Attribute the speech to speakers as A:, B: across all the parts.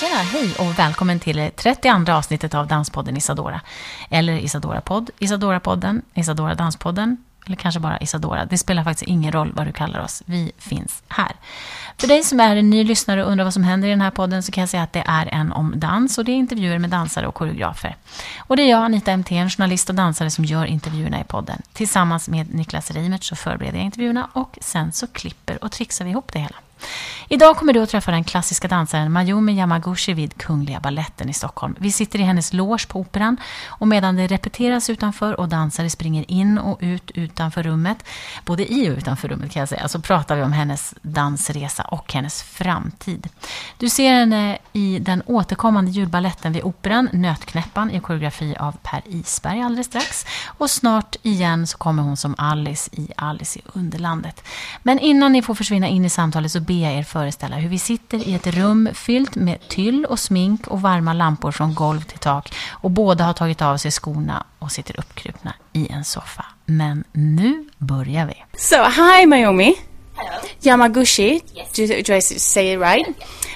A: Tjena, hej och välkommen till det 32 avsnittet av Danspodden Isadora. Eller Isadora podd, Isadora podden, Isadora danspodden eller kanske bara Isadora. Det spelar faktiskt ingen roll vad du kallar oss. Vi finns här. För dig som är en ny lyssnare och undrar vad som händer i den här podden så kan jag säga att det är en om dans och det är intervjuer med dansare och koreografer. Och det är jag, Anita MT, en journalist och dansare som gör intervjuerna i podden. Tillsammans med Niklas Reimert så förbereder jag intervjuerna och sen så klipper och trixar vi ihop det hela. Idag kommer du att träffa den klassiska dansaren Mayumi Yamaguchi vid Kungliga Balletten i Stockholm. Vi sitter i hennes loge på Operan och medan det repeteras utanför och dansare springer in och ut utanför rummet, både i och utanför rummet kan jag säga, så pratar vi om hennes dansresa och hennes framtid. Du ser henne i den återkommande julballetten vid Operan, Nötknäppan i koreografi av Per Isberg alldeles strax. Och snart igen så kommer hon som Alice i Alice i Underlandet. Men innan ni får försvinna in i samtalet så ber jag er föreställa hur vi sitter i ett rum fyllt med tyll och smink och varma lampor från golv till tak och båda har tagit av sig skorna och sitter uppkrupna i en soffa. Men nu börjar vi.
B: So, hi, Naomi.
C: Hello.
B: Yamaguchi. Do, do I s- say it right?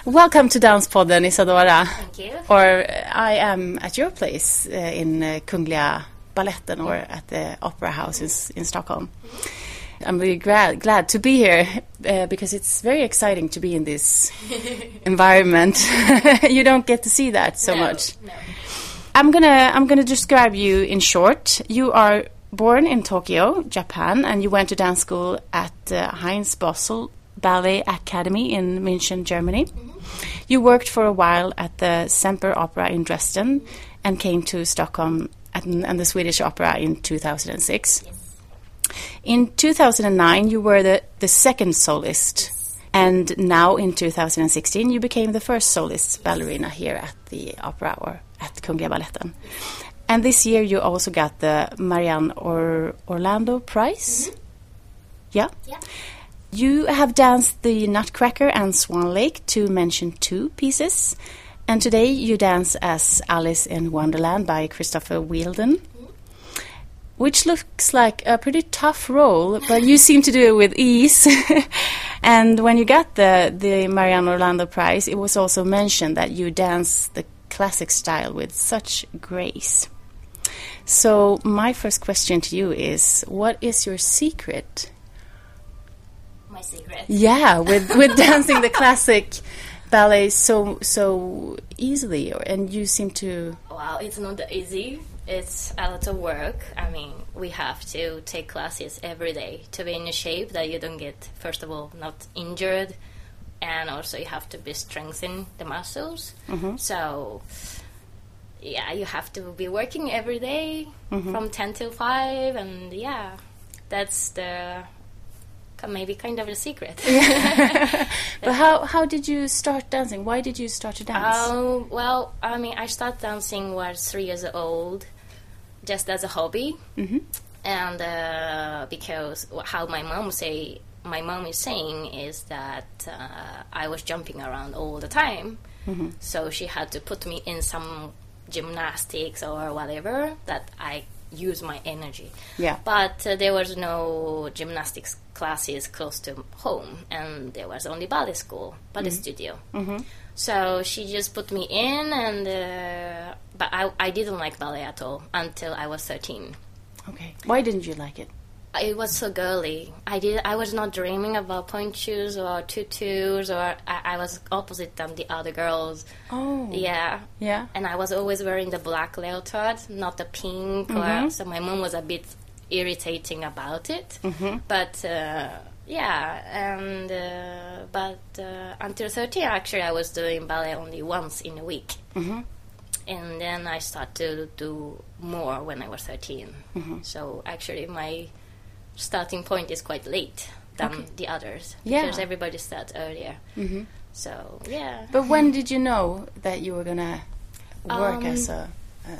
B: Welcome to Dance Pod in Isadora.
C: Thank you.
B: Or uh, I am at your place uh, in uh, Kungliga Balletten or at the Opera House in, S- in Stockholm. I'm really glad, glad to be here uh, because it's very exciting to be in this environment. you don't get to see that so much. I'm gonna I'm gonna describe you in short. You are born in Tokyo, Japan, and you went to dance school at uh, Heinz Bossel Ballet Academy in München, Germany. You worked for a while at the Semper Opera in Dresden, and came to Stockholm at, and the Swedish Opera in 2006. In 2009, you were the, the second soloist. And now in 2016, you became the first soloist ballerina here at the opera or at Kungliga Balletten. And this year, you also got the Marianne or- Orlando Prize. Yeah?
C: Yeah.
B: You have danced the Nutcracker and Swan Lake, to mention two pieces. And today you dance as Alice in Wonderland by Christopher Wielden, which looks like a pretty tough role, but you seem to do it with ease. and when you got the, the Marianne Orlando Prize, it was also mentioned that you dance the classic style with such grace. So, my first question to you is what is your secret
C: My secret.
B: yeah, with with dancing the classic ballet so so easily, or, and you seem to
C: Wow, it's not easy. It's a lot of work. I mean, we have to take classes every day to be in a shape that you don't get, first of all, not injured, and also you have to be strengthen the muscles. So, yeah, you have to be working every day from 10 till 5, and yeah, that's the ki- maybe kind of the secret.
B: But how how did you start dancing? Why did you start to dance?
C: Um, well, I mean, I started dancing when I was three years old, just as a hobby, mm-hmm. and uh, because wh- how my mom say, my mom is saying is that uh, I was jumping around all the time, so she had to put me in some gymnastics or whatever that I use my energy.
B: Yeah.
C: But uh, there was no gymnastics classes close to home, and there was only ballet school, ballet studio. Mm-hmm. So she just put me in, and uh, but I, I didn't like ballet at all until I was thirteen.
B: okay, why didn't you like it?
C: It was so girly. I did. I was not dreaming about point shoes or tutus, or I, I was opposite than the other girls.
B: Oh,
C: Yeah,
B: yeah,
C: and I was always wearing the black leotard, not the pink.
B: Mm-hmm.
C: Or, so my mom was a bit irritating about it.
B: Mm-hmm.
C: But uh, yeah, and uh, but uh, until 13, actually, I was doing ballet only once in a week.
B: Mm-hmm.
C: And then I started to do more when I was 13.
B: Mm-hmm.
C: So actually, my starting point is quite late than the others
B: Yeah. Mm-hmm.
C: because everybody starts earlier. So yeah.
B: But when did you know that you were gonna work
C: Um,
B: as a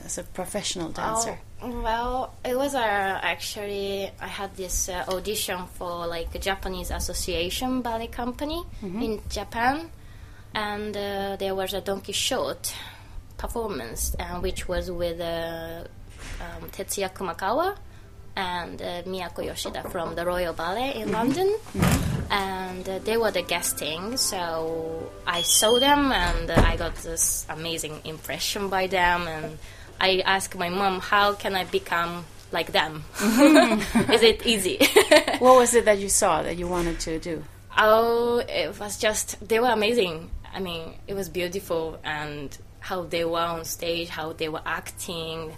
B: as a professional dancer?
C: Oh, well, it was uh, actually I had this uh, audition for like a Japanese association ballet company in Japan, and uh, there was a Don Quixote performance, uh, which was with uh, um, Tetsuya Kumakawa and uh, Miyako Yoshida from the Royal Ballet in London. And uh, they were the guesting, so I saw them and uh, I got this amazing impression by them. And I asked my mom, How can I become like them? Is it easy?
B: What was it that you saw that you wanted to do?
C: Oh, it was just they were amazing. I mean, it was beautiful and how they were on stage, how they were acting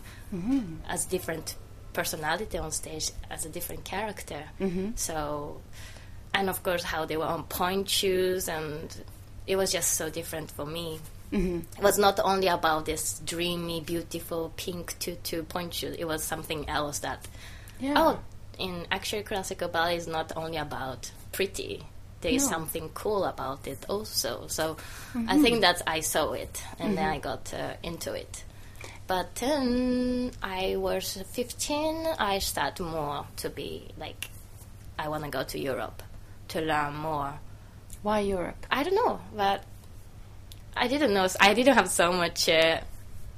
C: as different personality on stage, as a different character. So, and of course, how they were on point shoes, and it was just so different for me. It was not only about this dreamy, beautiful pink tutu point shoe. It was something else that
B: Yeah.
C: Oh, in actual classical ballet is not only about pretty. There is something cool about it also. So I think that I saw it and then I got uh, into it. But then I was 15, I start more to be like, I want to go to Europe to learn more.
B: Why Europe?
C: I don't know, but I didn't know. I didn't have so much, uh,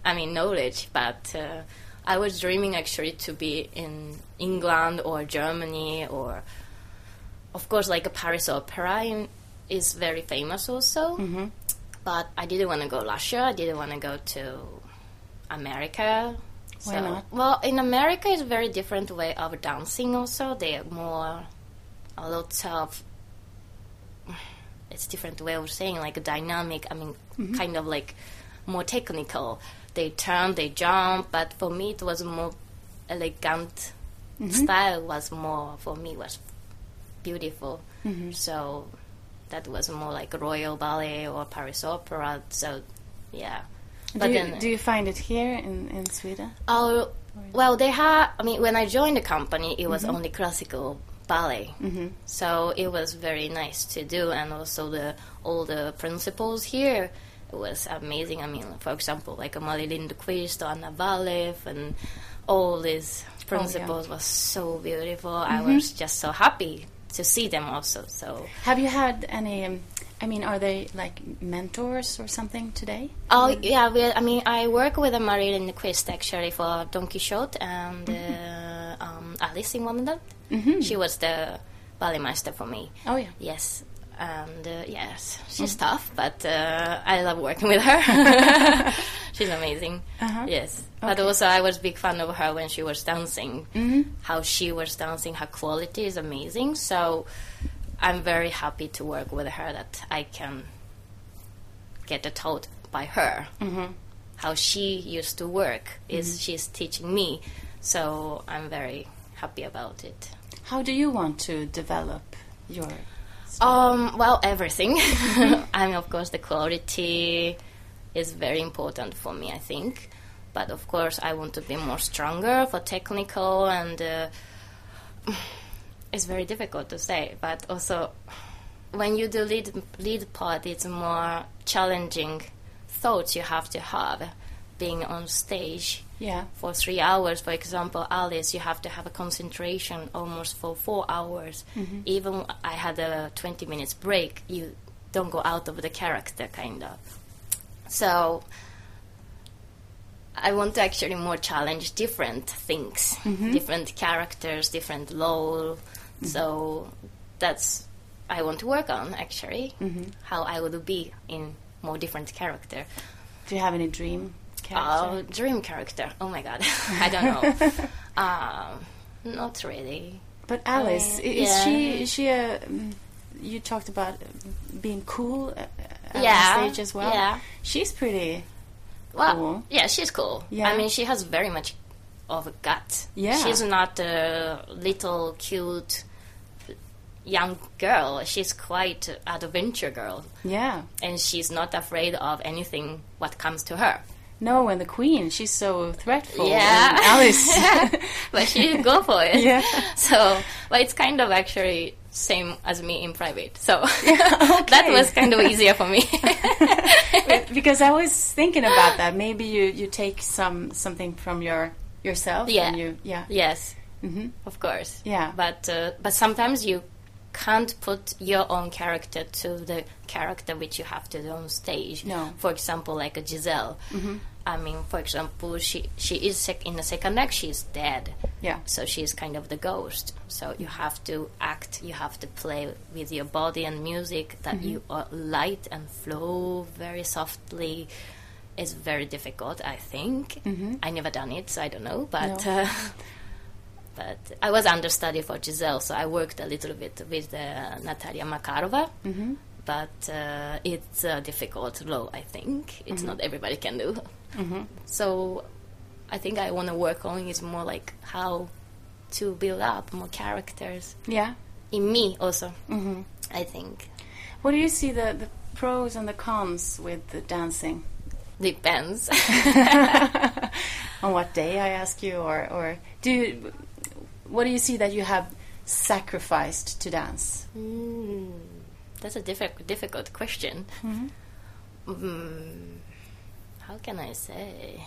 C: I mean, knowledge. But uh, I was dreaming actually to be in England or Germany or, of course, like a Paris Opera in, is very famous also.
B: Mm-hmm.
C: But I didn't want to go Russia. I didn't want to go to America.
B: Why
C: so,
B: not?
C: Well, in America, it's a very different way of dancing. Also, they're more a lot of it's different way of saying like dynamic i mean
B: Mm-hmm.
C: kind of like more technical they turn they jump but for me it was more elegant
B: Mm-hmm.
C: style was more for me was beautiful
B: Mm-hmm.
C: so that was more like royal ballet or paris opera so yeah
B: do, you, do you find it here in, in Sweden?
C: Oh, well, they had. I mean, when I joined the company, it was only classical ballet, mm-hmm. so it was very nice to do, and also the all the principles here was amazing. I mean, for example, like Amalie Lindquist or Anna Valef and all these principles was so beautiful. I was just so happy to see them also. So.
B: Have you had any? Um, I mean, are they like mentors or something today?
C: Oh yeah, we, I mean, I work with a Marie Lindquist actually for Don Quixote and uh, um, Alice in Wonderland. She was the ballet master for me.
B: Oh yeah.
C: Yes, and uh, yes, she's
B: Mm.
C: tough, but uh, I love working with her. she's amazing.
B: Uh-huh.
C: Yes, but
B: Okay. Mm-hmm.
C: also I was big fan of her when she was dancing. How she was dancing, her quality is amazing. So I'm very happy to work with her. That I can get the taught by her.
B: Mm-hmm.
C: How she used to work is she's teaching me. So I'm very happy about it.
B: How do you want to develop your?
C: Um, well, everything. I mean, of course, the quality is very important for me, I think. But of course, I want to be more stronger for technical, and uh, it's very difficult to say. But also, when you do lead lead part, it's more challenging thoughts you have to have being on stage
B: Yeah.
C: for three hours, for example, Alice, you have to have a concentration almost for four hours. Even I had a 20 minutes break, you don't go out of the character, kind of. So I want to actually more challenge different things, different characters, different role. So that's I want to work on actually how I would be in more different character.
B: Do you have any dream
C: Oh,
B: character?
C: dream character. Oh my god, I don't know. um, not really.
B: but Alice,
C: uh,
B: i is
C: yeah.
B: she? Is she a? mm, You talked about uh, being cool uh, uh,
C: Yeah,
B: on stage as well.
C: yeah.
B: She's pretty.
C: Well,
B: Cool.
C: yeah, she's cool.
B: Yeah.
C: I mean, she has very much of a gut.
B: Yeah.
C: she's not a little cute young girl. She's quite an adventure girl,
B: Yeah.
C: and she's not afraid of anything what comes to her.
B: No, and the queen, she's so threatful.
C: Yeah.
B: and Alice.
C: but she go for it.
B: Yeah.
C: So, but it's kind of actually same as me in private. So that was kind of easier for me.
B: because I was thinking about that. Maybe you, you take some something from your yourself.
C: Yeah.
B: And you, yeah.
C: yes,
B: Mm-hmm.
C: of course.
B: Yeah.
C: But uh, but sometimes you can't put your own character to the character which you have to do on stage.
B: No. Mm-hmm.
C: For example, like a Giselle. I mean, for example, she she is sec- in the second act. She is dead.
B: Yeah.
C: So she is kind of the ghost. So you have to act. You have to play with your body and music that you are light and flow very softly. It's very difficult, I think. I never done it, so I don't know. But
B: No.
C: uh, but I was understudy for Giselle, so I worked a little bit with uh, Natalia Makarova. But uh, it's a difficult role, I think. It's not everybody can do. So I think I want to work on is more like how to build up more characters
B: Yeah.
C: in me also. Mm-hmm. I think
B: What do you see the, the pros and the cons with the dancing?
C: depends.
B: On what day I ask you, or or do you, what do you see that you have sacrificed to dance?
C: Mm, that's a difficult difficult question. Mm, how can I say?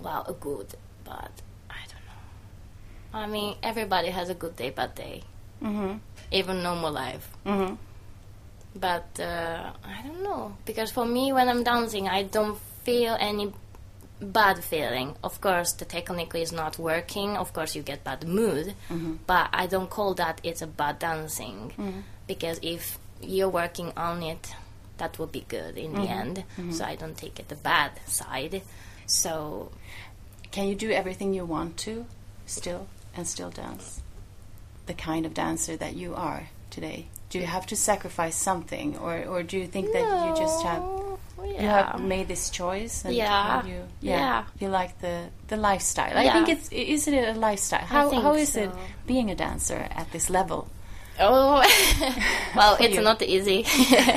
C: Well, a good, but I don't know. I mean, everybody has a good day, bad day,
B: Mm-hmm.
C: even normal life.
B: Mm-hmm.
C: But uh, I don't know because for me, when I'm dancing, I don't feel any bad feeling. Of course, the technique is not working. Of course, you get bad mood,
B: Mm-hmm.
C: but I don't call that it's a bad dancing because if you're working on it, that will be good in
B: Mm-hmm.
C: the end. So I don't take it the bad side. So
B: Can you do everything you want to, still and still dance? The kind of dancer that you are today. Do you have to sacrifice something, or or do you think that you just have
C: No,
B: you
C: yeah.
B: have made this choice and
C: Yeah.
B: you
C: Yeah.
B: you like the the lifestyle i
C: Yeah.
B: think it's i- is it a lifestyle how
C: think
B: how is it
C: so.
B: being a dancer at this level
C: Oh, well,
B: For
C: it's
B: you.
C: not easy.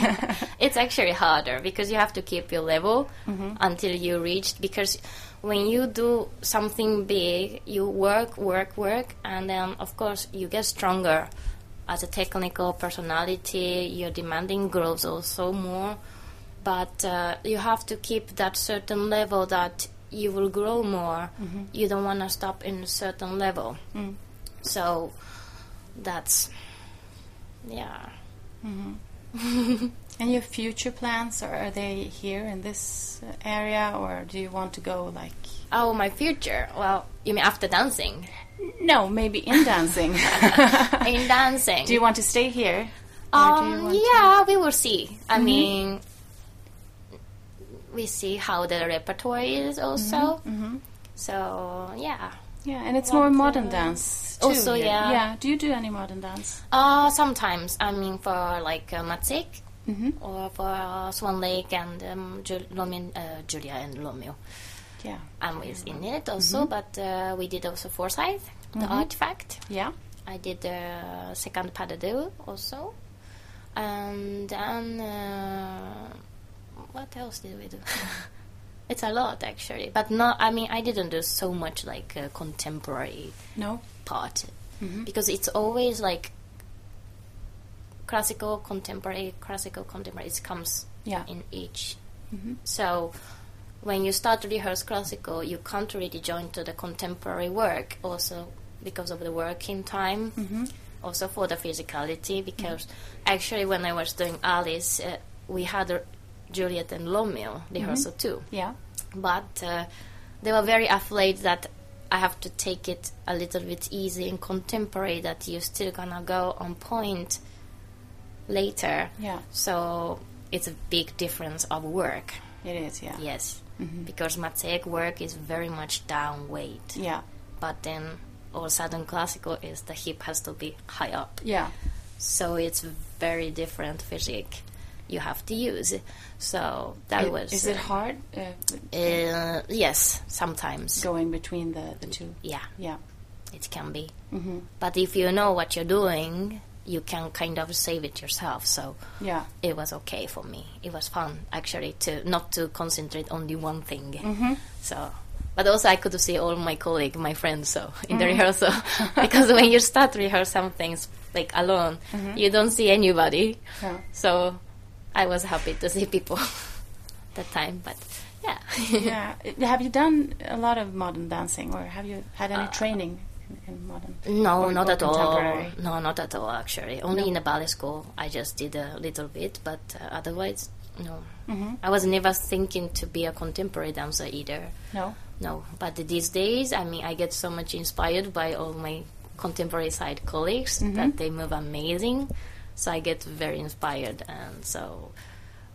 C: it's actually harder because you have to keep your level
B: Mm-hmm.
C: until you reach. Because when you do something big, you work, work, work, and then of course you get stronger as a technical personality. Your demanding grows also more, but uh, you have to keep that certain level that you will grow more.
B: Mm-hmm.
C: You don't want to stop in a certain level.
B: Mm.
C: So that's yeah
B: and your future plans are, are they here in this uh, area or do you want to go like
C: oh my future well you mean after dancing
B: no maybe in dancing
C: in dancing
B: do you want to stay here or do you
C: um
B: want Mm-hmm. to-
C: yeah we will see i mean we see how the repertoire is
B: Mm-hmm,
C: also so yeah
B: yeah and it's more
C: want
B: modern
C: to-
B: dance too
C: Also,
B: here.
C: Oh, yeah.
B: yeah do you do any modern dance
C: uh sometimes i mean for like uh, matsik
B: mm-hmm.
C: or for uh, swan lake and um, Ju- Romeo- uh, julia and romeo
B: yeah
C: i'm with
B: Mm-hmm.
C: in it also but uh, we did also forsyth the artifact
B: yeah
C: I did the second pas de deux also. And then, uh, what else did we do? it's a lot actually, but not. I mean, I didn't do so much like uh, contemporary
B: no
C: part because it's always like classical, contemporary, classical, contemporary. It comes
B: yeah
C: in each. So when you start to rehearse classical, you can't really join to the contemporary work, also because of the working time, also for the physicality. Because actually, when I was doing Alice, uh, we had a Juliet and Romeo rehearsal too
B: yeah
C: but uh, they were very afraid that I have to take it a little bit easy and contemporary. That you're still gonna go on point later.
B: Yeah.
C: So it's a big difference of work.
B: it is yeah
C: Yes,
B: Mm-hmm.
C: because Matsek work is very much down weight,
B: yeah
C: but then all sudden classical is the hip has to be high up.
B: yeah
C: So it's very different physique you have to use. So that
B: I-
C: was
B: Is it
C: uh,
B: hard uh,
C: uh, yes, sometimes.
B: going between the, the two?
C: Yeah,
B: Yeah.
C: it can be.
B: hmm
C: But if you know what you're doing, you can kind of save it yourself. So
B: Yeah.
C: it was okay for
B: Mm.
C: Mm-hmm. me. It was fun actually to not to concentrate only one thing. So, But also, I could see all my colleague, my friends, so in
B: Mm.
C: the rehearsal, because when you start rehearse some things like alone,
B: Mm-hmm.
C: you don't see anybody.
B: Yeah.
C: So I was happy to see people that time. But yeah,
B: yeah. Uh, Have you done a lot of modern dancing, or have you had any training in, in modern?
C: Uh, No,
B: or-
C: not
B: or
C: at all.
B: contemporary?
C: No, not at all. Actually, only in the ballet school I just did a little bit, but uh, otherwise, no.
B: Mm-hmm.
C: I was never thinking to be a contemporary dancer either.
B: No.
C: No, but these days, I mean, I get so much inspired by all my contemporary side colleagues that they move amazing. So I get very inspired, and so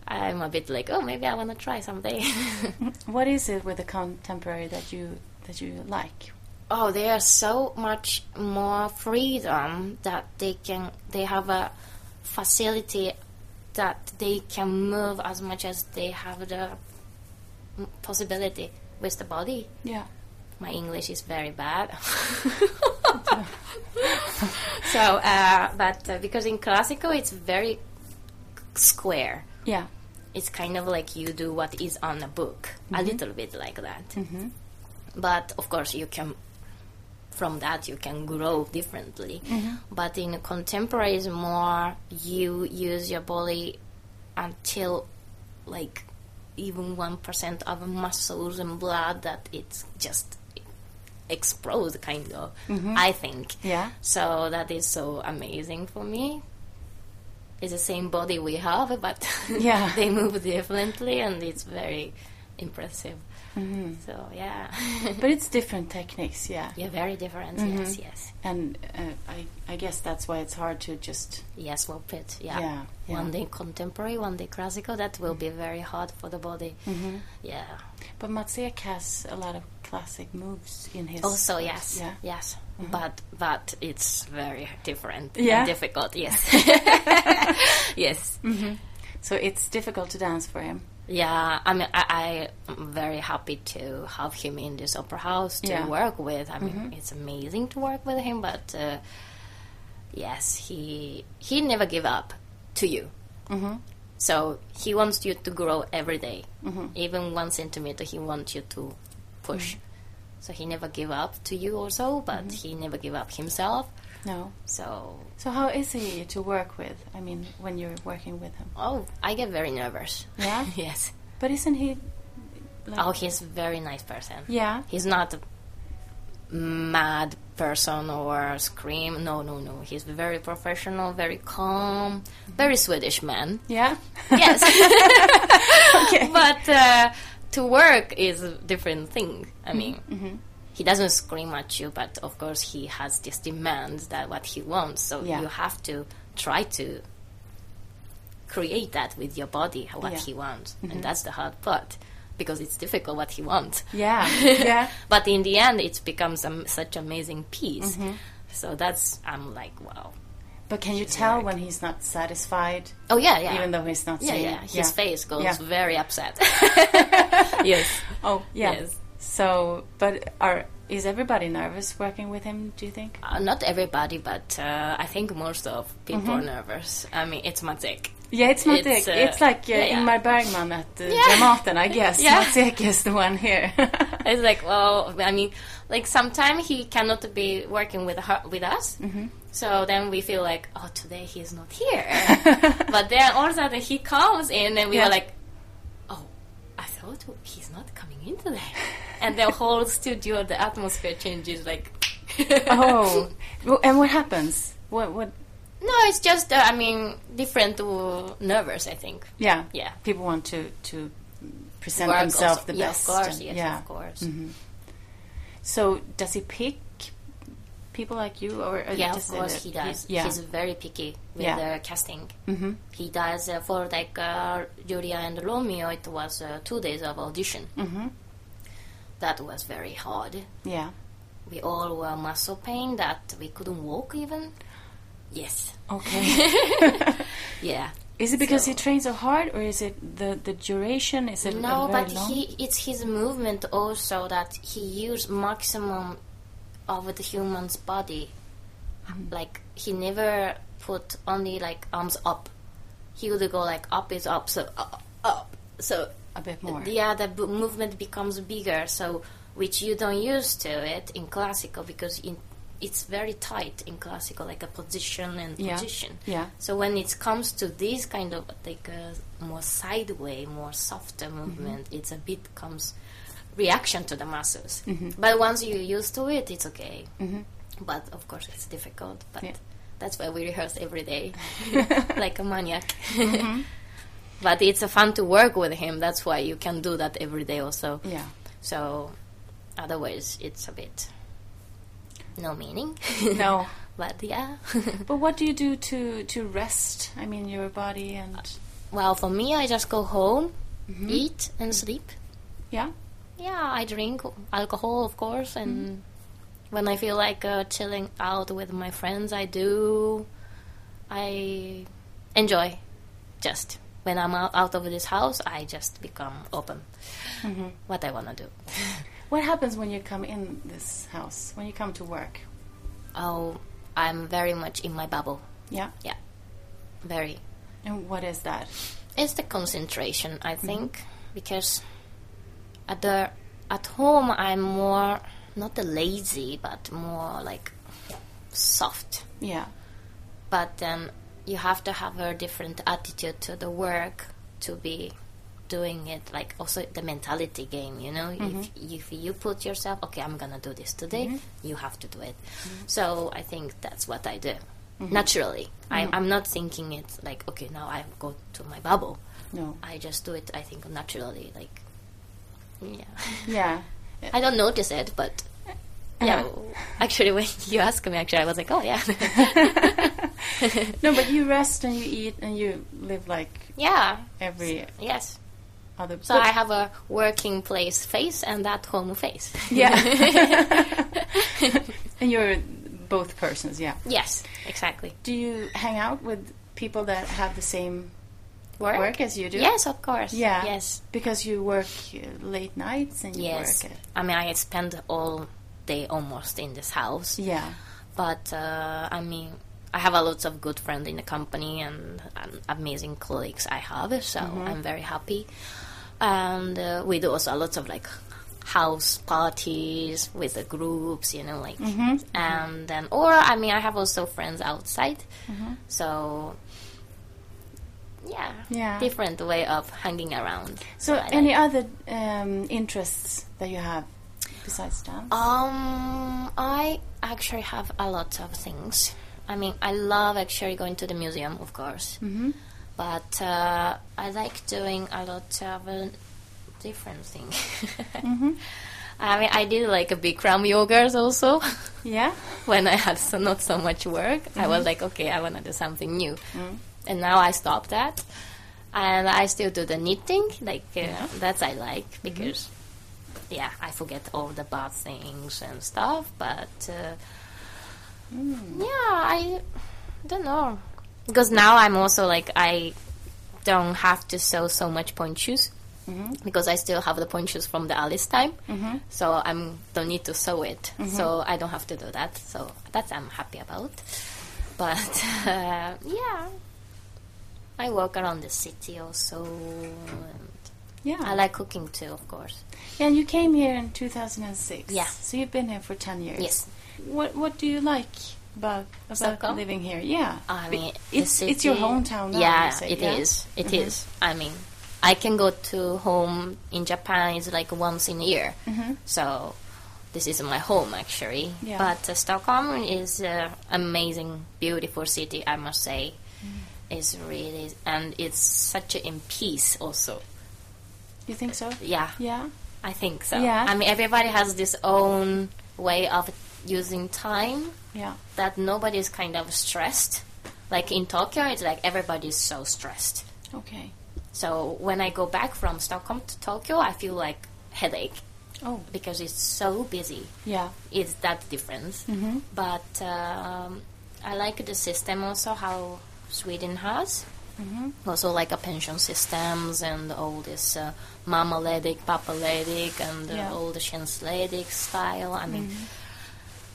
C: I'm a bit like, oh, maybe I want to try someday.
B: What is it with the contemporary that you that you like?
C: oh they are so much more freedom that they can they have a facility that they can move as much as they have the mm, possibility with the body
B: Yeah.
C: my English is very bad. so, uh, but uh, because in classical it's very square,
B: Yeah.
C: it's kind of like you do what is on a book, a little bit like that. But of course, you can from that you can grow differently. But in contemporary, is more you use your body until like even one percent of muscles and blood that it's just explode kind of. I think.
B: Yeah.
C: So that is so amazing for me. It's the same body we have, but
B: Yeah.
C: they move differently, and it's very impressive.
B: Mm-hmm.
C: So yeah,
B: But it's different techniques, yeah.
C: yeah, very different.
B: Mm-hmm.
C: Yes, yes,
B: And uh, I, I guess that's why it's hard to just
C: yes. Well, put yeah.
B: yeah. yeah,
C: One day contemporary, one day classical. That will be very hard for the body.
B: Mm-hmm.
C: Yeah.
B: But Matsek has a lot of classic moves in his.
C: Also, yes,
B: Yeah. Mm-hmm.
C: yes, but but it's very different. and
B: Yeah.
C: difficult. Yes, yes.
B: So it's difficult to dance for him.
C: Yeah, I mean, I, I'm very happy to have him in this opera house to
B: Yeah. Mm-hmm.
C: work with. I mean, it's amazing to work with him, but uh, yes, he he never give up to you. Mm-hmm. So he wants you to grow every day.
B: Mm-hmm.
C: even one centimeter. He wants you to push. So he never give up to you also, but
B: Mm-hmm.
C: he never give up himself.
B: No.
C: So
B: So how is he to work with? I mean, when you're working with him.
C: oh, I get very nervous.
B: Yeah?
C: yes.
B: But isn't he? Like,
C: Oh, he's a very nice person.
B: Yeah.
C: He's not a mad person or scream. No, no, no. He's very professional, very calm, very Swedish man.
B: Yeah.
C: Yes.
B: Okay.
C: but uh, to work is a different thing. I mean,
B: Mm-hmm.
C: he doesn't scream at you, but of course he has this demand that what he wants. So
B: Yeah.
C: you have to try to create that with your body what
B: Yeah. Mm-hmm.
C: he wants, and that's the hard part because it's difficult what he wants.
B: Yeah. Yeah.
C: But in the end, it becomes am- such amazing piece.
B: Mm-hmm.
C: So that's I'm like wow.
B: But can you tell when he's not satisfied,
C: Oh yeah, yeah.
B: even though he's not
C: yeah,
B: saying?
C: yeah. His face goes
B: Yeah.
C: very upset. yes.
B: Oh, yeah.
C: Yes.
B: So, but are is everybody nervous working with him? Do you think?
C: Uh, not everybody, but uh, I think most of people are
B: Mm-hmm.
C: nervous. I mean, it's Matek.
B: Yeah, it's not
C: It's,
B: it's,
C: uh,
B: it's like uh,
C: yeah, yeah.
B: Ingmar Bergman at uh, Dramaten, I guess.
C: Yeah.
B: Mats Ek is the one here.
C: It's like, well, I mean, like sometimes he cannot be working with her, with us.
B: Mm-hmm.
C: So then we feel like, oh, today he's not here. but then all of a sudden he comes in, and we
B: Yeah.
C: were like, oh, I thought he's not coming in today. And the whole studio, the atmosphere changes. Like,
B: oh, Well, and what happens? What? What?
C: no, it's just, uh, I mean, different uh, nervous. I think.
B: Yeah,
C: Yeah.
B: People want to to present
C: Work
B: themselves
C: also.
B: the
C: yeah,
B: best.
C: Of course,
B: and-
C: yes,
B: yeah. Mm-hmm.
C: of course.
B: So, does he pick people like you, or uh,
C: Yeah, of
B: does it-
C: course he does.
B: yeah.
C: He's very picky with
B: Yeah.
C: the casting. Mm-hmm. He does uh, for like uh, Julia and Romeo. It was uh, two days of audition. Mm-hmm. That was very hard.
B: yeah.
C: We all were muscle pain that we couldn't walk even. Yes.
B: Okay.
C: Yeah.
B: is it because
C: So-
B: he trains so hard, or is it the the duration? Is it
C: No,
B: uh, very
C: but
B: long?
C: he it's his movement also that he used maximum of the human's body.
B: Um,
C: Like he never put only like arms up. He would go like up is up, so up, up. so
B: a bit more.
C: yeah, the b- movement becomes bigger. So which you don't used to it in classical because in, it's very tight in classical, like a position and
B: Yeah.
C: position.
B: Yeah.
C: So when it comes to this kind of like a more sideway, more softer movement, it's a bit comes reaction to the muscles. But once you're used to it, it's okay. But of course, it's difficult. But
B: Yeah.
C: that's why we rehearse every day, like a maniac. But it's a fun to work with him. That's why you can do that every day also.
B: Yeah.
C: So otherwise, it's a bit no meaning.
B: No.
C: but yeah.
B: But what do you do to to rest? I mean, your body and
C: well, for me, I just go home, eat, and sleep.
B: yeah.
C: Mm-hmm. Yeah, I drink alcohol, of course, and when I feel like uh, chilling out with my friends, I do. I enjoy just. When I'm out, out of this house, I just become open. What I want to do.
B: What happens when you come in this house? When you come to work?
C: Oh, I'm very much in my bubble.
B: Yeah.
C: Yeah. Very.
B: And what is that?
C: It's the concentration, I think, because at the at home I'm more not the lazy, but more like soft.
B: Yeah.
C: But then you have to have a different attitude to the work to be doing it. Like also the mentality game, you know. If if you put yourself, okay, I'm gonna do this today. You have to do it. So I think that's what I do. Naturally, I, I'm not thinking it like okay, now I go to my bubble.
B: No.
C: I just do it, I think, naturally. Like, yeah.
B: Yeah.
C: I don't notice it, but yeah.
B: Uh-huh.
C: Actually, when you asked me, actually, I was like, oh, yeah.
B: No, but you rest and you eat and you live like
C: yeah.
B: every
C: Yes.
B: other.
C: So I have a working place face and that home face.
B: yeah. and you're both persons. Yeah.
C: yes, exactly.
B: Do you hang out with people that have the same
C: Work?
B: work as you do?
C: Yes, of course.
B: Yeah.
C: Yes.
B: Because you work uh, late nights and you
C: Yes.
B: work. At,
C: I mean, I spend all day almost in this house.
B: yeah.
C: but uh, I mean, I have a lot of good friends in the company and um, amazing colleagues I have, so I'm very happy. And uh, we do also a lot of like house parties with the groups, you know, like, and then, or I mean, I have also friends outside, so yeah,
B: Yeah.
C: different way of hanging around.
B: So,
C: I
B: any other um, interests that you have besides dance?
C: Uh, Um, I actually have a lot of things. I mean, I love actually going to the museum, of course. Mm-hmm. But uh, I like doing a lot of uh, different things. I mean, I did like a Bikram yogas also
B: yeah.
C: when I had so, not so much work. I was like, okay, I want to do something new. And now I stopped that. And I still do the knitting. Like, uh, that's I like because, yeah, I forget all the bad things and stuff. But, uh, yeah, I don't know. Because now I'm also like, I don't have to sew so much ponchos. Because I still have the ponchos from the Alice time, so I'm don't need to sew it, so I don't have to do that. So that I'm happy about. But uh, yeah, I walk around the city also. And
B: Yeah.
C: I like cooking too, of course.
B: Yeah, and you came here in 2006.
C: Yeah.
B: So you've been here for 10 years.
C: Yes.
B: What What do you like about about
C: Stockholm?
B: living here? Yeah.
C: I mean, the
B: it's
C: city,
B: it's your hometown now.
C: yeah,
B: you say,
C: it is.
B: yeah? Mm-hmm.
C: It is. I mean, I can go to home in Japan is like once in a year. So this is my home actually.
B: Mm-hmm. Yeah.
C: But uh, Stockholm is uh, amazing, beautiful city. I must say,
B: Mm-hmm.
C: it's really and it's such a in peace also.
B: You think so?
C: Yeah.
B: Yeah.
C: I think so.
B: Yeah.
C: I mean, everybody has this own way of using time
B: Yeah.
C: that nobody's kind of stressed. Like in Tokyo, it's like everybody's so stressed.
B: Okay.
C: So when I go back from Stockholm to Tokyo, I feel like headache
B: Oh.
C: because it's so busy.
B: Yeah. Mm-hmm.
C: It's that difference. But um, I like the system also how Sweden has.
B: Mm-hmm.
C: Also like a pension systems and all this uh, mammaletic, papaletic, and uh,
B: Yeah. Mm-hmm.
C: all the shensledic style. I mean,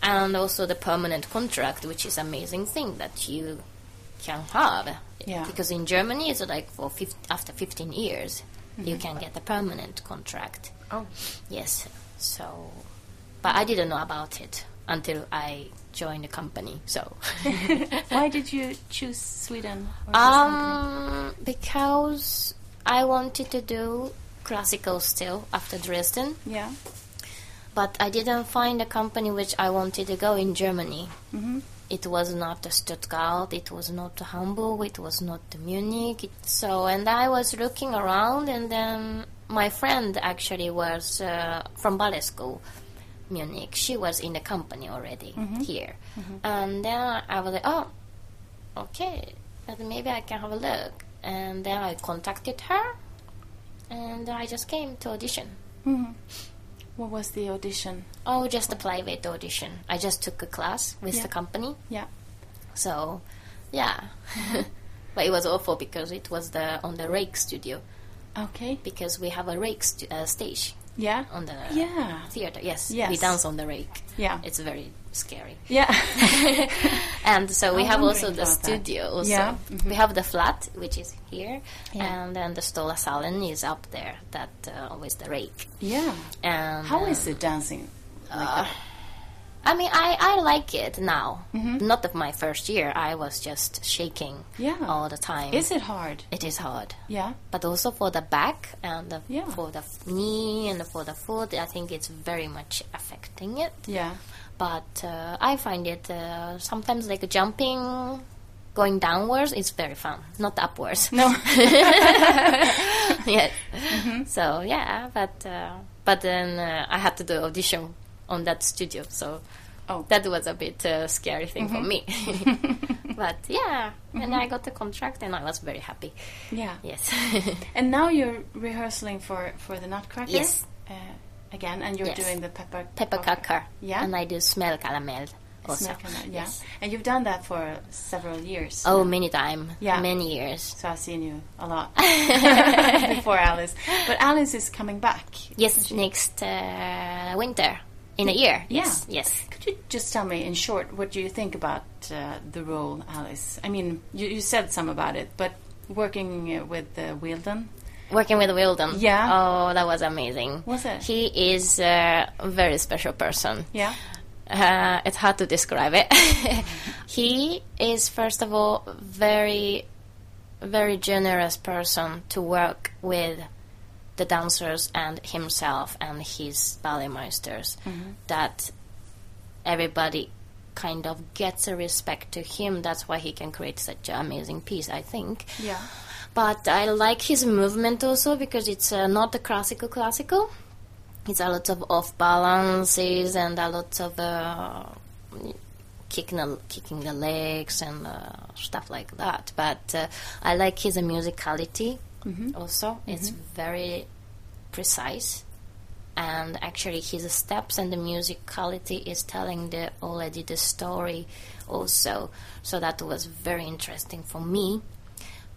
C: and also the permanent contract, which is amazing thing that you can have.
B: Yeah.
C: Because in Germany, it's like for
B: Mm-hmm.
C: 15, after 15 years, you can get a permanent contract.
B: Oh.
C: Yes. So, but I didn't know about it until I joined the company. So,
D: Why did you choose Sweden? or this company?
C: um, because I wanted to do classical still after Dresden,
D: yeah.
C: but I didn't find a company which I wanted to go in Germany. It was not the Stuttgart, it was not the Hamburg, it was not the Munich. It- So, and I was looking around, and then my friend actually was uh, from ballet school, Munich. She was in the company already here, and then I was like, oh, okay, but maybe I can have a look. And then I contacted her, and I just came to audition.
D: What was the audition?
C: Oh, just a private audition. I just took a class with
D: Yeah.
C: the company.
D: Yeah.
C: So, yeah.
D: Mm-hmm.
C: but it was awful because it was the on the rake studio
D: Okay.
C: because we have a rake stu- uh, stage
D: Yeah.
C: on the
D: Yeah.
C: theater. Yes, we
D: Yes.
C: dance on the rake.
D: Yeah.
C: It's very scary.
D: Yeah.
C: And so we
D: I'm
C: have also
D: wondering
C: the
D: about that.
C: studio. Also,
D: Yeah.
C: we have the flat which is here,
D: Yeah.
C: and then the Stola Salen is up there. That uh, with the rake.
B: Yeah.
C: And
B: How
C: uh,
B: is it dancing?
C: I mean, I, I like it now.
B: Mm-hmm.
C: Not of my first year. I was just shaking
B: Yeah.
C: all the time.
B: Oh. Is it hard?
C: It is hard.
B: Yeah.
C: But also for the back and the,
B: Yeah.
C: for the knee and for the foot, I think it's very much affecting it.
B: Yeah.
C: But uh, I find it uh, sometimes like jumping, going downwards, it's very fun. Not upwards.
B: No. Mm-hmm.
C: yes. So yeah, but uh, but then uh, I had to do audition on that studio, so
B: Oh. Mm-hmm.
C: that was a bit uh, scary thing for me. but yeah, and I got the contract, and I was very happy.
B: Yeah.
C: Yes,
B: And now you're rehearsing for for the Nutcracker.
C: Yes.
B: Uh, again, and you're
C: Yes.
B: doing the pepper
C: pepper cacker.
B: Oh. Yeah.
C: and I do smell caramel also.
B: Snack and that, yeah.
C: Yes.
B: And you've done that for several years.
C: Oh, many time.
B: Yeah.
C: many years.
B: So I've seen you a lot before Alice. But Alice is coming back.
C: Yes, next uh, winter in a year.
B: Yeah.
C: Yes, yes.
B: Could you just tell me, in short, what do you think about uh, the role, Alice? I mean, you, you said some about it, but working uh, with uh, Wilden.
C: Working with Wildon.
B: Yeah.
C: Oh, that was amazing.
B: Was it?
C: He is uh, a very special person.
B: Yeah.
C: Uh, it's hard to describe it. he is, first of all, very, very generous person to work with the dancers and himself and his ballet masters. That everybody kind of gets a respect to him. That's why he can create such an amazing piece, I think
B: Yeah.
C: but I like his movement also because it's uh, not the classical classical. It's a lot of off balances and a lot of uh, kicking the, kicking the legs and uh, stuff like that. But uh, I like his musicality also. It's very precise. And actually, his steps and the musicality is telling the already the story, also. So that was very interesting for me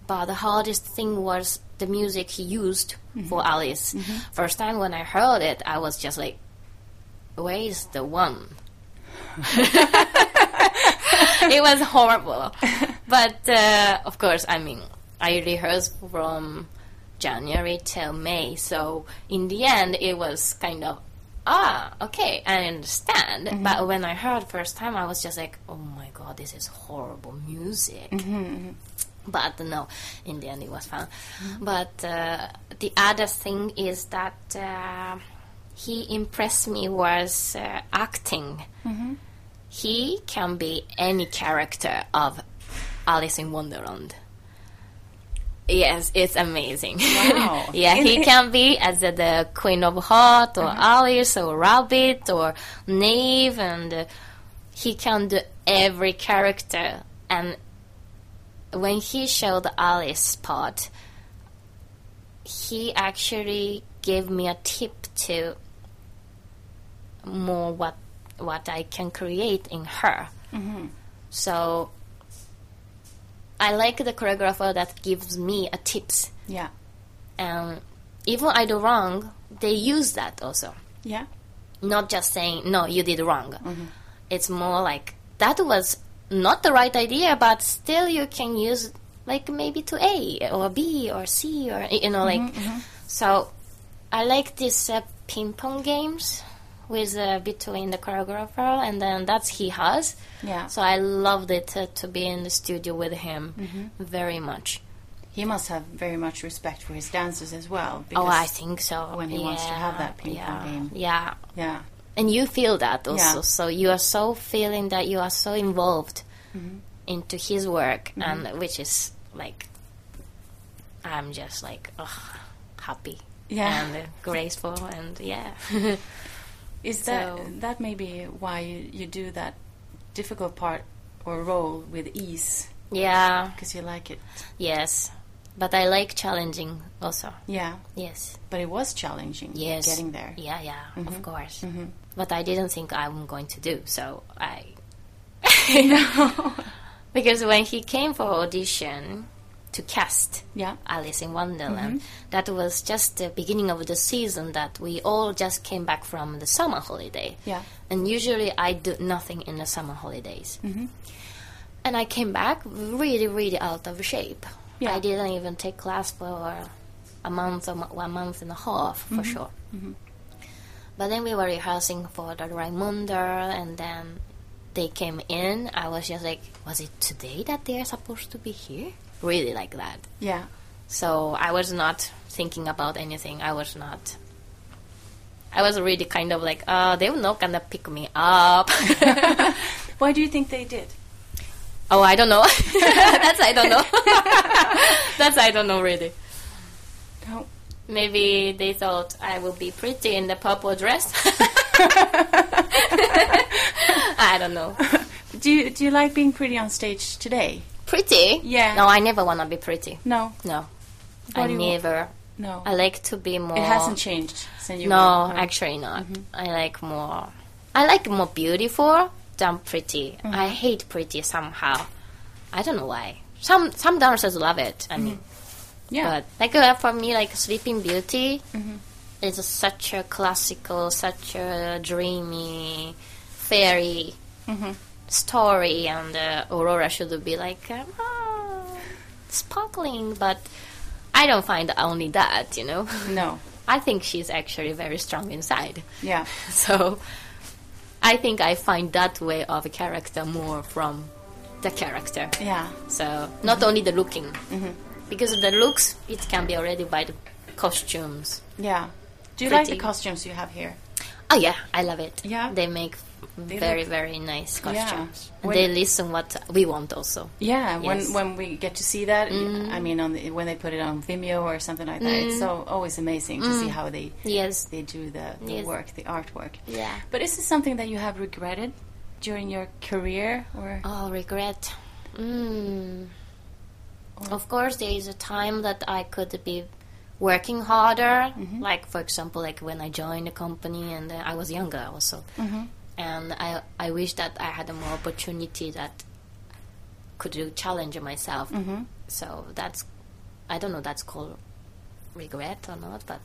C: but the hardest thing was the music he used for Alice. First time when I heard it, I was just like, "Where is the one?" it was horrible, but uh, of course, I mean, I rehearsed from January till May, so in the end, it was kind of. Ah, okay, I understand. But when I heard first time, I was just like, "Oh my god, this is horrible music." but no, in the end it was fun. But uh, the other thing is that uh, he impressed me was uh, acting. He can be any character of Alice in Wonderland. Yes, it's amazing.
B: Wow.
C: yeah, he can be as the, the Queen of Heart or Alice or Rabbit or Knave, and uh, he can do every character. And when he showed Alice part, he actually gave me a tip to more what what I can create in her. So I like the choreographer that gives me a tips.
B: Yeah.
C: And even I do wrong, they use that also.
B: Yeah.
C: Not just saying no, you did wrong.
B: Mm-hmm.
C: It's more like that was not the right idea, but still you can use like maybe to A or B or
B: Mm-hmm,
C: C or you know like. So I like these uh, ping pong games who is uh, between the choreographer and then that's he has.
B: Yeah.
C: So I loved it uh, to be in the studio with him
B: Mm-hmm.
C: very much.
B: He must have very much respect for his dancers as well.
C: Oh,
B: because-
C: I think so.
B: when he wants to have that ping
C: yeah,
B: pong game.
C: Yeah.
B: Yeah.
C: And you feel that also.
B: Yeah.
C: So you are so feeling that you are so involved
B: Mm-hmm.
C: into his work, and which is like, I'm just like, oh, happy.
B: Yeah.
C: And graceful, and yeah.
B: Is that
C: So-
B: that may be why you, you do that difficult part or role with ease
C: yeah,
B: because you like it?
C: yes. But I like challenging also.
B: Yeah,
C: Yes.
B: but it was challenging.
C: Yes.
B: getting there.
C: Yeah, yeah,
B: Mm-hmm.
C: of course. But I didn't think I'm going to do, so I. Because when he came for audition to cast
B: Yeah.
C: Alice in Wonderland,
B: Mm-hmm.
C: that was just the beginning of the season that we all just came back from the summer holiday.
B: Yeah.
C: And usually I do nothing in the summer holidays.
B: Mm-hmm.
C: And I came back really, really out of shape.
B: Yeah.
C: I didn't even take class for a month or mo- one month and a half for
B: Mm-hmm.
C: sure. But then we were rehearsing for the Raimunda, and then they came in. I was just like, was it today that they are supposed to be here? Really like that.
B: Yeah.
C: So I was not thinking about anything. I was not. I was really kind of like, uh, they're not gonna pick me up.
D: Why do you think they did?
C: oh, I don't know. That's I don't know. That's I don't know really.
B: No.
C: Maybe they thought I will be pretty in the purple dress. I don't know.
B: Do you do you like being pretty on stage today?
C: Pretty?
B: Yeah.
C: No, I never wanna be pretty.
B: No.
C: No,
B: What
C: I
B: do you-
C: never.
B: No.
C: I like to be more.
B: it hasn't changed since you. Mm-hmm.
C: No,
B: were-
C: actually not. I like more. I like more beautiful than pretty.
B: Mm-hmm.
C: I hate pretty somehow. I don't know why. Some some dancers love it. I mean,
B: Mm-hmm. Yeah. Mm-hmm.
C: but like uh, for me, like Sleeping Beauty is such a classical, such a dreamy, fairy
B: Mm-hmm.
C: story, and uh, Aurora should be like um, ah, sparkling, but I don't find only that, you know.
B: no.
C: I think she's actually very strong inside.
B: Yeah.
C: So I think I find that way of a character more from the character.
B: Yeah.
C: So not only the looking,
B: Mm-hmm.
C: because the looks it can be already by the costumes.
B: Yeah. Do you like the
C: Pretty.
B: costumes you have here?
C: Oh yeah, I love it.
B: Yeah.
C: they make very very nice
B: Yeah.
C: costumes.
B: When-
C: And they listen what we want also.
B: Yeah,
C: Yes. Mm-hmm.
B: when when we get to see that, I mean, on the, when they put it on Vimeo or something like that, it's so always amazing to see how they
C: Yes.
B: they do the, the
C: Mm. Yes.
B: work, the artwork.
C: Yeah.
B: But is this something that you have regretted during your career, or
C: Oh, regret. Mm. Of course, there is a time that I could be working harder. Like, for example, like when I joined the company and uh, I was younger also. And I, I wish that I had more opportunity that could do challenge myself. So that's, I don't know, that's called regret or not, but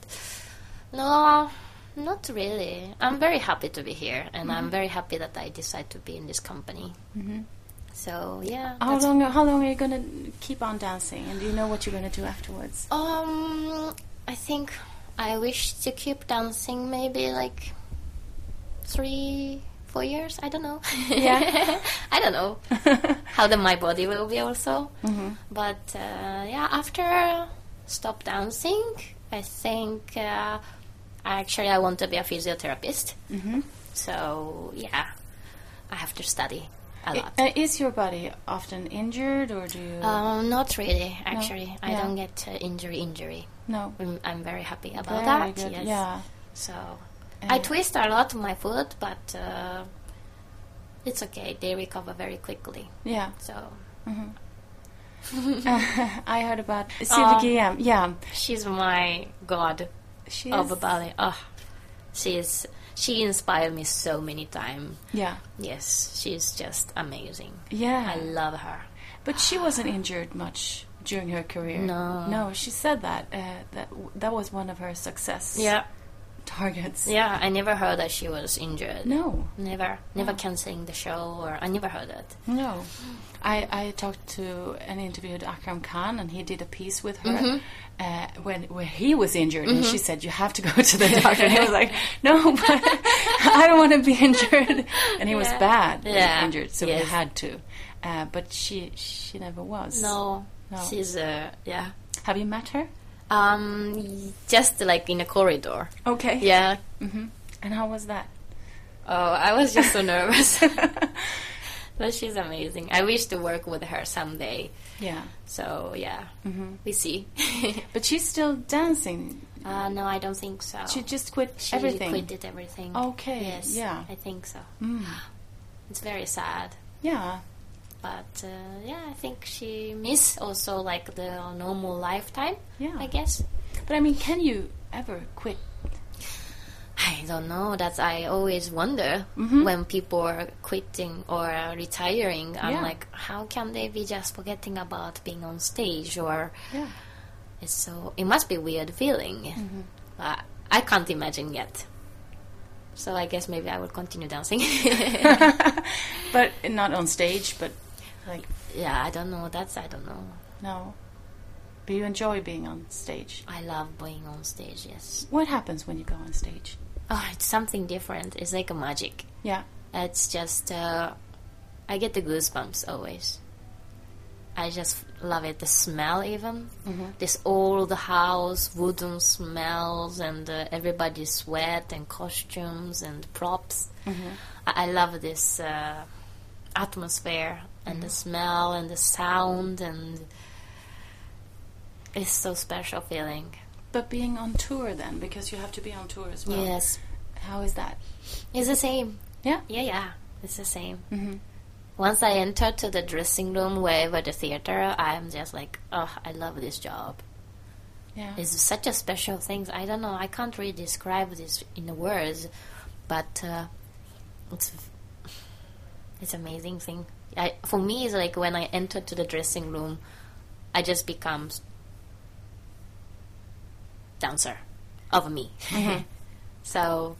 C: no, not really. I'm very happy to be here, and I'm very happy that I decided to be in this company. So yeah.
B: how
C: that's-
B: long how long are you gonna keep on dancing, and do you know what you're gonna do afterwards?
C: Um, I think I wish to keep dancing maybe like three, four years. I don't know.
B: Yeah.
C: I don't know how the, my body will be also.
B: Mm-hmm.
C: But uh, yeah, after stop dancing, I think uh, actually I want to be a physiotherapist.
B: Mm-hmm.
C: So yeah, I have to study a lot.
B: Uh, is your body often injured, or do you
C: um, not really, actually. I
B: Yeah.
C: don't get uh, injury injury.
B: no?
C: I'm, I'm very happy
B: Very
C: about that.
B: good.
C: Yes.
B: Yeah, Eh.
C: So I twist a lot my foot, but uh, it's okay. They recover very quickly.
B: yeah.
C: So
B: I heard about
C: Um,
B: Sylvie Guillem. Yeah,
C: she's my god
B: she
C: of
B: is-
C: a ballet. Oh, she is. She inspired me so many times.
B: Yeah,
C: Yes, she's just amazing.
B: yeah.
C: I love her.
B: But she wasn't injured much during her career.
C: No.
B: no, she said that uh, that w- that was one of her success. targets.
C: Yeah, I never heard that she was injured.
B: No,
C: Never, never canceling the show, or I never heard that.
B: no. I, I talked to and interviewed Akram Khan, and he did a piece with her
C: Mm-hmm.
B: uh, when where he was injured, and she said, "You have to go to the doctor." and he was like, "No, but I don't want to be injured," and he was
C: Yeah.
B: bad and
C: Yeah.
B: injured, so he
C: Yes.
B: had to. Uh, but she she never was.
C: No,
B: No.
C: she's uh, yeah,
B: Have you met her?
C: um, just like in a corridor.
B: Okay.
C: Yeah.
B: And how was that?
C: Oh, I was just so nervous. but she's amazing. I wish to work with her someday.
B: Yeah.
C: So yeah,
B: Mm-hmm.
C: we see.
B: But she's still dancing.
C: uh, no, I don't think so.
B: She just quit
C: Oh. She
B: everything.
C: quitted everything.
B: Okay,
C: Yes.
B: yeah.
C: I think so.
B: Mm.
C: It's very sad.
B: Yeah.
C: But uh, yeah, I think she miss also like the normal lifetime.
B: Yeah.
C: I guess.
B: But I mean, can you ever quit?
C: I don't know. That's I always wonder
B: Mm-hmm.
C: when people are quitting or uh, retiring. I'm
B: Yeah.
C: like, how can they be just forgetting about being on stage? Or
B: Yeah.
C: it's so it must be weird feeling.
B: Mm-hmm.
C: Uh, I can't imagine yet. So I guess maybe I will continue dancing.
B: But not on stage, but like,
C: yeah, I don't know. That's I don't know.
B: no. But you enjoy being on stage.
C: I love being on stage. Yes.
B: What happens when you go on stage?
C: Oh, it's something different. It's like a magic.
B: Yeah.
C: It's just, uh, I get the goosebumps always. I just love it. The smell, even this old house, wooden smells, and uh, everybody's sweat and costumes and props. I-, I love this uh, atmosphere and the smell and the sound and it's so special feeling.
B: But being on tour then, because you have to be on tour as well.
C: Yes,
B: How is that?
C: it's the same.
B: Yeah. Mm-hmm.
C: Yeah, yeah, it's the same. Once I enter to the dressing room, wherever the theater, I'm just like, oh, I love this job.
B: Yeah.
C: It's such a special thing. I don't know. I can't really describe this in words, but uh, it's it's amazing thing. I, for me, it's like when I enter to the dressing room, I just become dancer of me. so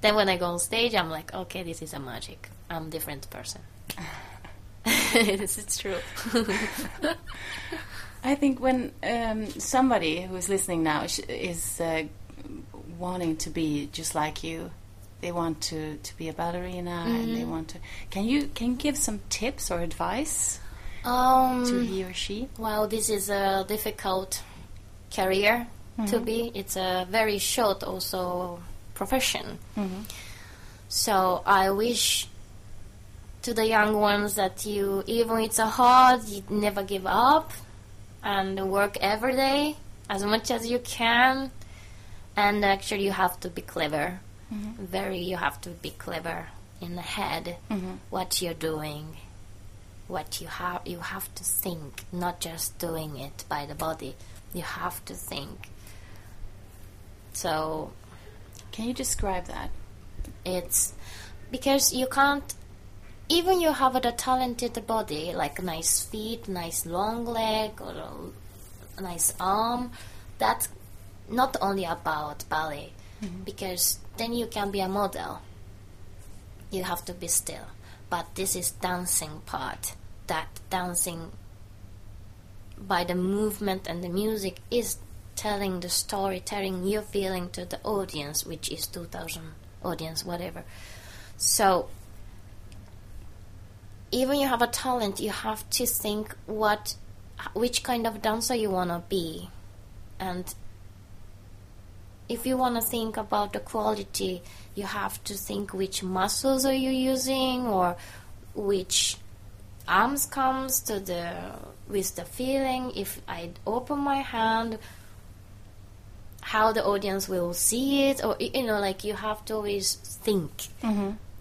C: then when I go on stage, I'm like, okay, this is a magic. I'm different person. this is true.
B: I think when um, somebody who is listening now sh- is uh, wanting to be just like you, they want to, to be a ballerina and they want to. Can you can you give some tips or advice
C: Um,
B: to he or she?
C: Well, this is a difficult career to be. It's a very short, also profession. So I wish to the young ones that you, even it's a hard, you never give up and work every day as much as you can. And actually, you have to be clever. Very, you have to be clever in the head what you're doing what you have you have to think not just doing it by the body you have to think so
B: Can you describe that?
C: it's because you can't even you have a talented body like nice feet nice long leg or a nice arm that's not only about ballet because then you can be a model you have to be still but this is dancing part that dancing by the movement and the music is telling the story, telling your feeling to the audience, which is 2000 audience, whatever. So, even you have a talent, you have to think what, which kind of dancer you wanna be, and if you want to think about the quality, you have to think which muscles are you using or which arms comes to the with the feeling if I open my hand how the audience will see it or y- you know like you have to always think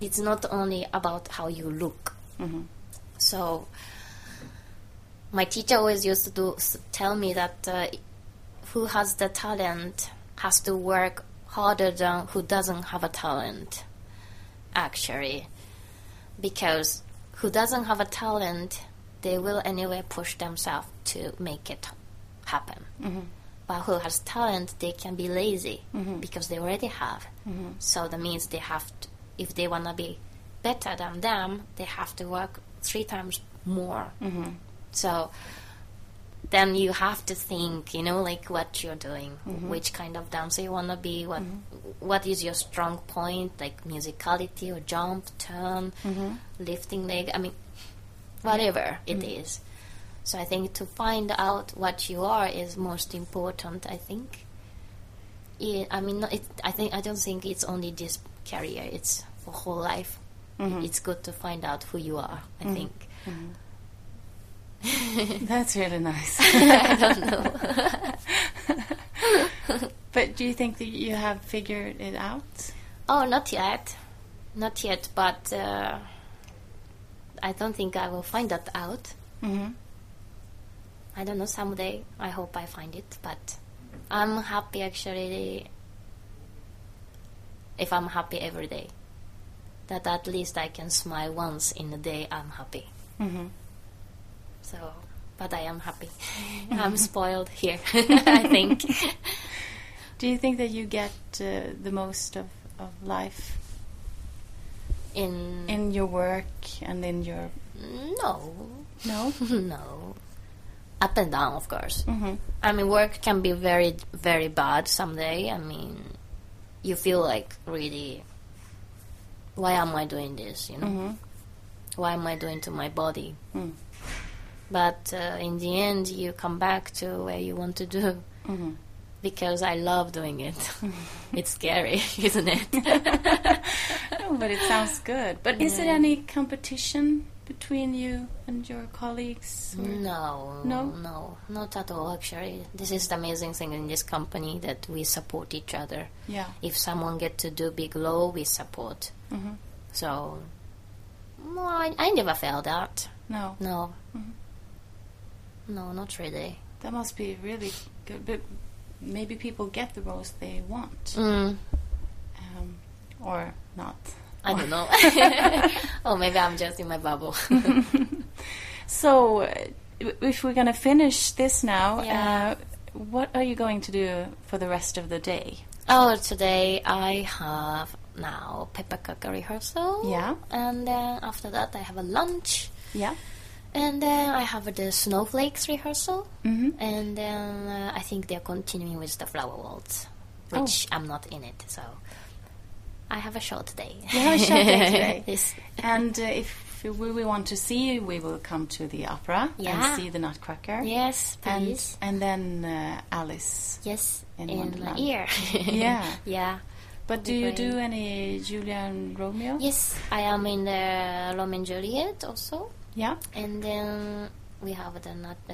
C: it's not only about how you look so my teacher always used to do, s- tell me that uh, who has the talent has to work harder than who doesn't have a talent actually because who doesn't have a talent they will anyway push themselves to make it happen but who has talent, they can be lazy because they already have. So that means they have to, if they want to be better than them, they have to work three times more. So then you have to think, you know, like what you're doing, which kind of dancer you want to be, what what is your strong point, like musicality or jump, turn, lifting leg. I mean, whatever it is. So I think to find out what you are is most important. I think. Yeah, I mean, not- it, I think I don't think it's only this career. It's for whole life. It's good to find out who you are. I think.
B: That's really nice.
C: I don't know.
B: But do you think that you have figured it out?
C: Oh, not yet, not yet. But uh, I don't think I will find that out.
B: Mm-hmm.
C: I don't know. Someday, I hope I find it. But I'm happy actually. If I'm happy every day, that at least I can smile once in a day. I'm happy.
B: Mm-hmm.
C: So, but I am happy. I'm spoiled here. I think.
B: Do you think that you get uh, the most of, of life
C: In,
B: in your work and in your
C: no,
B: no?
C: no. Up and down, of course.
B: Mm-hmm.
C: I mean, work can be very, very bad someday. I mean, you feel like really, why am I doing this? You know, why am I doing to my body?
B: Mm-hmm. Mm.
C: But uh, in the end, you come back to where you want to do
B: Mhm.
C: because I love doing it. it's scary, isn't it?
B: No, but it sounds good. But is there any competition between you and your colleagues? or-
C: No,
B: No?
C: no, not at all. Actually, this is the amazing thing in this company that we support each other.
B: Yeah.
C: if someone get to do big low, we support.
B: Mhm.
C: So, no, I, I never felt that.
B: No.
C: No.
B: Mm-hmm.
C: No, not really.
B: That must be really good. But maybe people get the roles they want,
C: Mm,
B: um, or not.
C: I don't know. or maybe I'm just in my bubble.
B: So, uh, w- if we're going to finish this now, uh,
C: Yeah.
B: what are you going to do for the rest of the day?
C: oh, today I have now pepper cooker rehearsal.
B: Yeah.
C: And then after that I have a lunch.
B: Yeah.
C: And then I have the snowflakes rehearsal.
B: Mhm.
C: And then uh, I think they're continuing with the flower waltz,
B: Oh.
C: which I'm not in it. So I have a short day.
B: You have a short day today.
C: Yes.
B: And uh, if we, we want to see you, we will come to the opera
C: Yeah.
B: and see the Nutcracker.
C: Yes,
B: And,
C: please.
B: and then uh, Alice.
C: yes,
B: in
C: in, my
B: Wonderland.
C: ear.
B: Yeah.
C: yeah.
B: But do
C: be
B: you
C: great.
B: do any Julia and Romeo?
C: Yes, I am in the Romeo and Juliet also.
B: Yeah.
C: And then we have the nut- uh,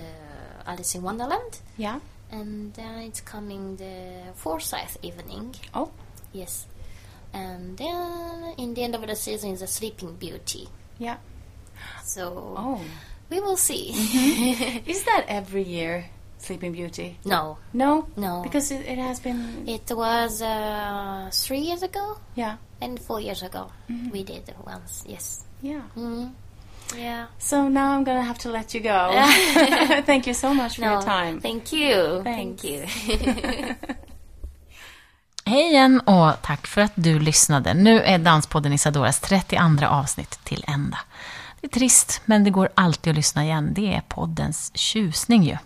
C: Alice in Wonderland.
B: Yeah.
C: And then it's coming the Forsyth evening.
B: Oh,
C: Yes. And then in the end of the season is a Sleeping Beauty.
B: yeah.
C: So
B: Oh.
C: we will see.
B: Is that every year, Sleeping Beauty?
C: no,
B: No?
C: No.
B: Because it, it has been.
C: it was uh, three years ago
B: Yeah.
C: and four years ago
B: Mm-hmm.
C: we did once. Yes.
B: Yeah.
C: Mm. Yeah.
B: So now I'm going to have to let you go. Thank you so much for your time.
C: Thank you.
B: Thanks.
C: Thank you.
A: Hej igen och tack för att du lyssnade. Nu är Danspodden Isadoras 32 avsnitt till ända. Det är trist, men det går alltid att lyssna igen. Det är poddens tjusning ju.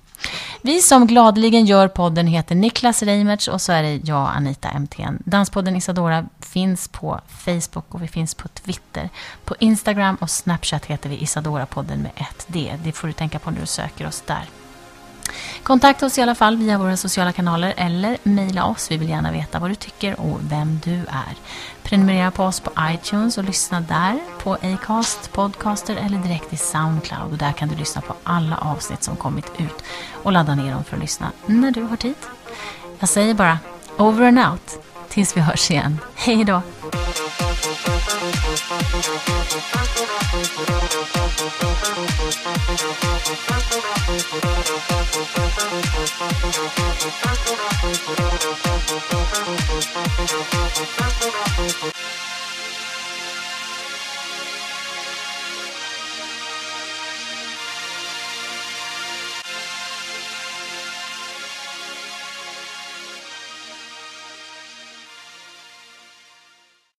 A: Vi som gladeligen gör podden heter Niklas Reimertz och så är det jag, Anita MTN. Danspodden Isadora finns på Facebook och vi finns på Twitter. På Instagram och Snapchat heter vi Isadora-podden med ett D. Det får du tänka på när du söker oss där. Kontakta oss i alla fall via våra sociala kanaler eller mejla oss. Vi vill gärna veta vad du tycker och vem du är. Prenumerera på oss på iTunes och lyssna där på Acast, Podcaster eller direkt i Soundcloud. Och där kan du lyssna på alla avsnitt som kommit ut och ladda ner dem för att lyssna när du har tid. Jag säger bara over and out tills vi hörs igen. Hej då!